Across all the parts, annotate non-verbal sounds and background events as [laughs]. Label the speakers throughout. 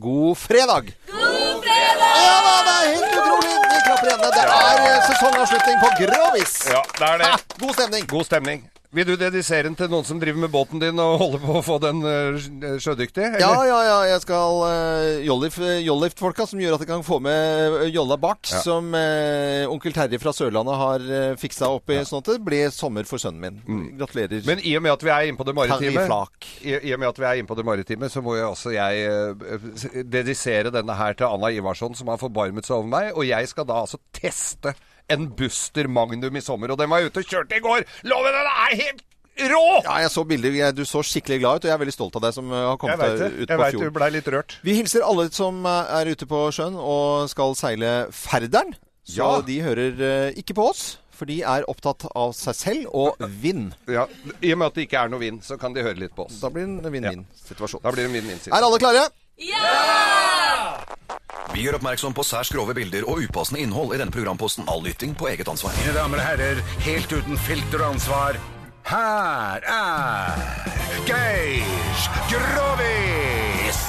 Speaker 1: god fredag!
Speaker 2: God fredag!
Speaker 1: Ja, da, det er helt utrolig! Vi klapper igjen. Det er eh, sesongavslutning på Grovis.
Speaker 3: Ja, det er det.
Speaker 1: Ha, god stemning.
Speaker 3: God stemning. Vil du dedisere den til noen som driver med båten din og holder på å få den eh, sj- sjødyktig? eller?
Speaker 1: Ja, ja, ja. Jeg skal eh, jollif- Jollift-folka, som gjør at jeg kan få med eh, jolla bak, som eh, onkel Terje fra Sørlandet har eh, fiksa opp i, sånn at det blir sommer for sønnen min. Gratulerer.
Speaker 3: Mm. Men i og med at vi er inne på det maritime,
Speaker 1: Terje Flak.
Speaker 3: i, i og med at vi er inne på det maritime, så må jeg også jeg eh, dedisere denne her til Anna Ivarsson, som har forbarmet seg over meg. Og jeg skal da altså teste en Buster Magnum i sommer. Og den var jeg ute og kjørte i går! Loven, den er helt rå!
Speaker 1: Ja, jeg så bilder. Jeg- Du så skikkelig glad ut, og jeg er veldig stolt av deg som eh, har
Speaker 3: jeg
Speaker 1: kommet
Speaker 3: veit
Speaker 1: deg
Speaker 3: det.
Speaker 1: ut
Speaker 3: Jeg
Speaker 1: på
Speaker 3: vet du
Speaker 1: fjorden.
Speaker 3: blei litt rørt.
Speaker 1: Vi hilser alle som eh, er ute på sjøen og skal seile Færderen. Så
Speaker 3: Ja.
Speaker 1: de hører eh, ikke på oss, for de er opptatt av seg selv og vind.
Speaker 3: Ja, I og med at det ikke er noe vind, så kan de høre litt på
Speaker 1: [laughs]
Speaker 3: oss.
Speaker 1: Da blir det en vinn-vinn-situasjon.
Speaker 3: Da blir det en vinn-vinn-situasjon.
Speaker 1: Er alle klare?
Speaker 4: Vi gjør oppmerksom på særs grove bilder og upassende innhold i denne programposten. All lytting på eget ansvar.
Speaker 5: Mine damer og herrer, helt uten filter og ansvar, her er Geir Grovis!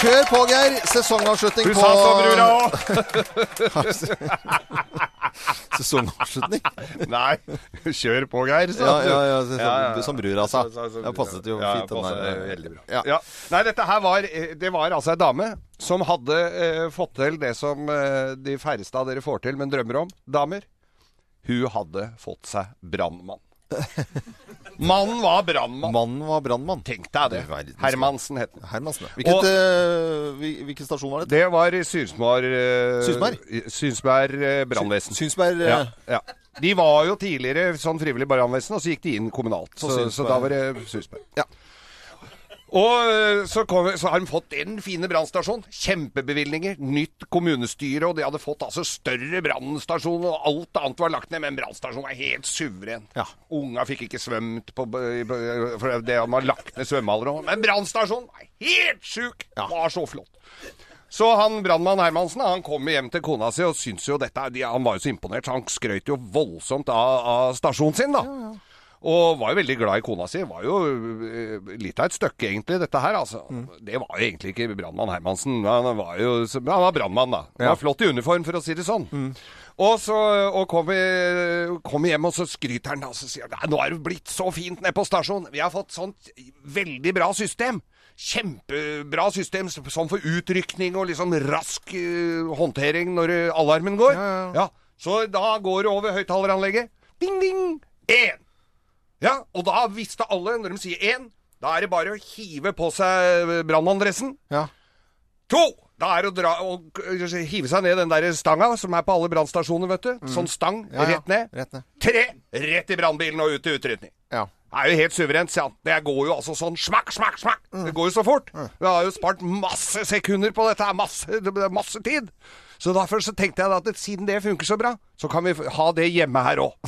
Speaker 1: Kjør på, Geir. Sesongavslutning
Speaker 3: Du
Speaker 1: på
Speaker 3: sa så, brura òg!
Speaker 1: Sesongavslutning?
Speaker 3: [laughs] Nei, kjør på, Geir. sa
Speaker 1: [laughs] Ja,
Speaker 3: du.
Speaker 1: ja, ja, som- som brura sa. Ja, passet jo
Speaker 3: Ja,
Speaker 1: fint, den
Speaker 3: passet
Speaker 1: der.
Speaker 3: veldig bra.
Speaker 1: Ja.
Speaker 3: Ja. Nei, dette her var eh, Det var altså ei dame som hadde eh, fått til det som eh, de færreste av dere får til, men drømmer om. Damer. Hun hadde fått seg
Speaker 1: [laughs]
Speaker 3: brannmann. Mannen var brannmann.
Speaker 1: Mannen var brannmann.
Speaker 3: Tenk deg det.
Speaker 1: Verdens-
Speaker 3: Hermansen het han.
Speaker 1: Hermansen. ja. Hvilket,
Speaker 3: Og-
Speaker 1: eh, hvil- hvilken stasjon var det?
Speaker 3: Det var i Synsmar eh,
Speaker 1: Synsmar?
Speaker 3: i- Synsmar eh, brannvesen.
Speaker 1: Synsberg eh,
Speaker 3: ja, ja. De var jo tidligere sånn frivillig brannvesen, og så gikk de inn kommunalt. Så, så,
Speaker 1: Synsberg.
Speaker 3: da var det Synsberg.
Speaker 1: Ja.
Speaker 3: Og eh, så, kom, så har de fått den fine brannstasjonen. Kjempebevilgninger. Nytt kommunestyre, og de hadde fått altså større brannstasjon, og alt annet var lagt ned, men brannstasjonen var helt suveren.
Speaker 1: Ja.
Speaker 3: Unga fikk ikke svømt på, b- b- for det hadde man lagt ned svømmehaller òg. Men brannstasjonen var helt sjuk! Var så flott. Så han brannmann Hermansen han kom hjem til kona si og syntes jo dette de- Han var jo så imponert, så han skrøt jo voldsomt av, av stasjonen sin, da. Og var jo veldig glad i kona si. Var jo eh, litt av et stykke, egentlig, dette her. Altså. Det var jo egentlig ikke brannmann Hermansen. Han var jo så- han var brannmann, da. Han var flott i uniform, for å si det sånn. Og så og kom, vi, kom vi hjem, og så skryter han, og så sier han «Nei, 'Nå er det blitt så fint nede på stasjonen'. 'Vi har fått sånt veldig bra system'. Kjempebra system s- sånn for utrykning og liksom rask eh, håndtering når eh, alarmen går. Ja, Så da går det over høyttaleranlegget. Ding, ding! Én! Ja, og da visste alle, når de sier én, da er det bare å hive på seg eh, brannmanndressen.
Speaker 1: Ja.
Speaker 3: To! Da er det å dra, og k- hive seg ned den der stanga som er på alle brannstasjoner, vet du. Sånn stang,
Speaker 1: Mm. Ja, ja.
Speaker 3: rett ned.
Speaker 1: Rett ned.
Speaker 3: Tre! Rett i brannbilen og ut til utrydning.
Speaker 1: Ja.
Speaker 3: Det er jo helt suverent, sier han. Det går jo altså sånn smakk, smakk, smakk.
Speaker 1: Mm.
Speaker 3: Det går jo så fort. Vi har jo spart masse sekunder på dette, her, masse, det er masse tid. Så derfor så tenkte jeg da at siden det funker så bra, så kan vi f- ha det hjemme her òg.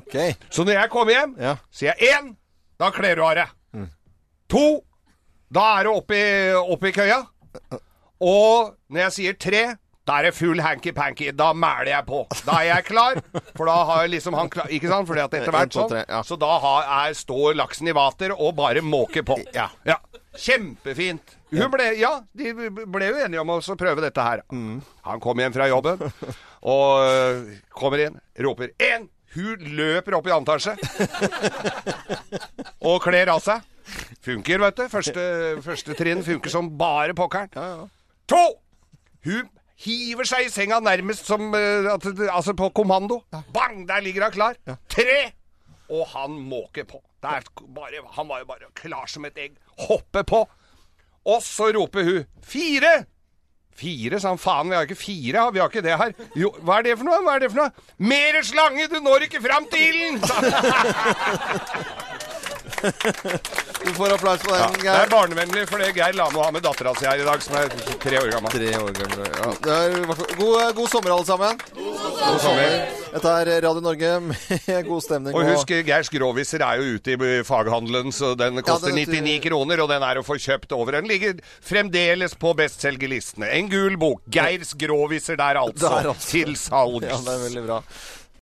Speaker 1: Ok.
Speaker 3: Så når jeg kommer hjem,
Speaker 1: Ja.
Speaker 3: sier jeg én, da kler du av deg. To, da er det opp i, opp i køya. Og når jeg sier tre, da er det full hanky-panky. Da mæler jeg på. Da er jeg klar. For da har jeg liksom han klar, Ikke sant? Fordi at
Speaker 1: En,
Speaker 3: etter hvert
Speaker 1: to,
Speaker 3: sånn.
Speaker 1: tre, ja.
Speaker 3: Så da har, er, står laksen i vater og bare måker på.
Speaker 1: Ja.
Speaker 3: Kjempefint. Hun ble, ja, de ble jo enige om å så prøve dette her.
Speaker 1: Mm.
Speaker 3: Han kom hjem fra jobben og øh, kommer inn, roper én. Hun løper opp i
Speaker 1: [laughs]
Speaker 3: annen etasje og kler av seg. Funker, vet du. Første, første trinn funker som bare pokkeren. To! Hun hiver seg i senga nærmest som eh, at, Altså på kommando. Bang! Der ligger hun klar. Tre! Og han måker på. Det er bare, han var jo bare klar som et egg. Hopper på. Og så roper hun fire! Fire, sa han. Faen, vi har ikke fire. Vi har ikke det her. Jo, hva er det for noe? Hva er det for noe? Mere slange, du når ikke fram til ilden! sa han.
Speaker 1: Du får applaus på den,
Speaker 3: Det er
Speaker 1: Geir.
Speaker 3: barnevennlig, for det Geir Lame har med dattera si her i dag, som er tre år gammel.
Speaker 1: Tre år gammel. Ja. Det er, i hvert fall- god, eh, god sommer, alle sammen.
Speaker 3: God sommer.
Speaker 1: Dette er Radio Norge med [laughs] god stemning.
Speaker 3: Og husk, Geirs groviser er jo ute i faghandelen, så den koster
Speaker 1: den-
Speaker 3: 99 kroner, og den er å få kjøpt over. Den ligger fremdeles på bestselgerlistene. En gul bok. Geirs groviser der, altså.
Speaker 1: Der, altså.
Speaker 3: Til salgs.
Speaker 1: Ja, det er veldig bra.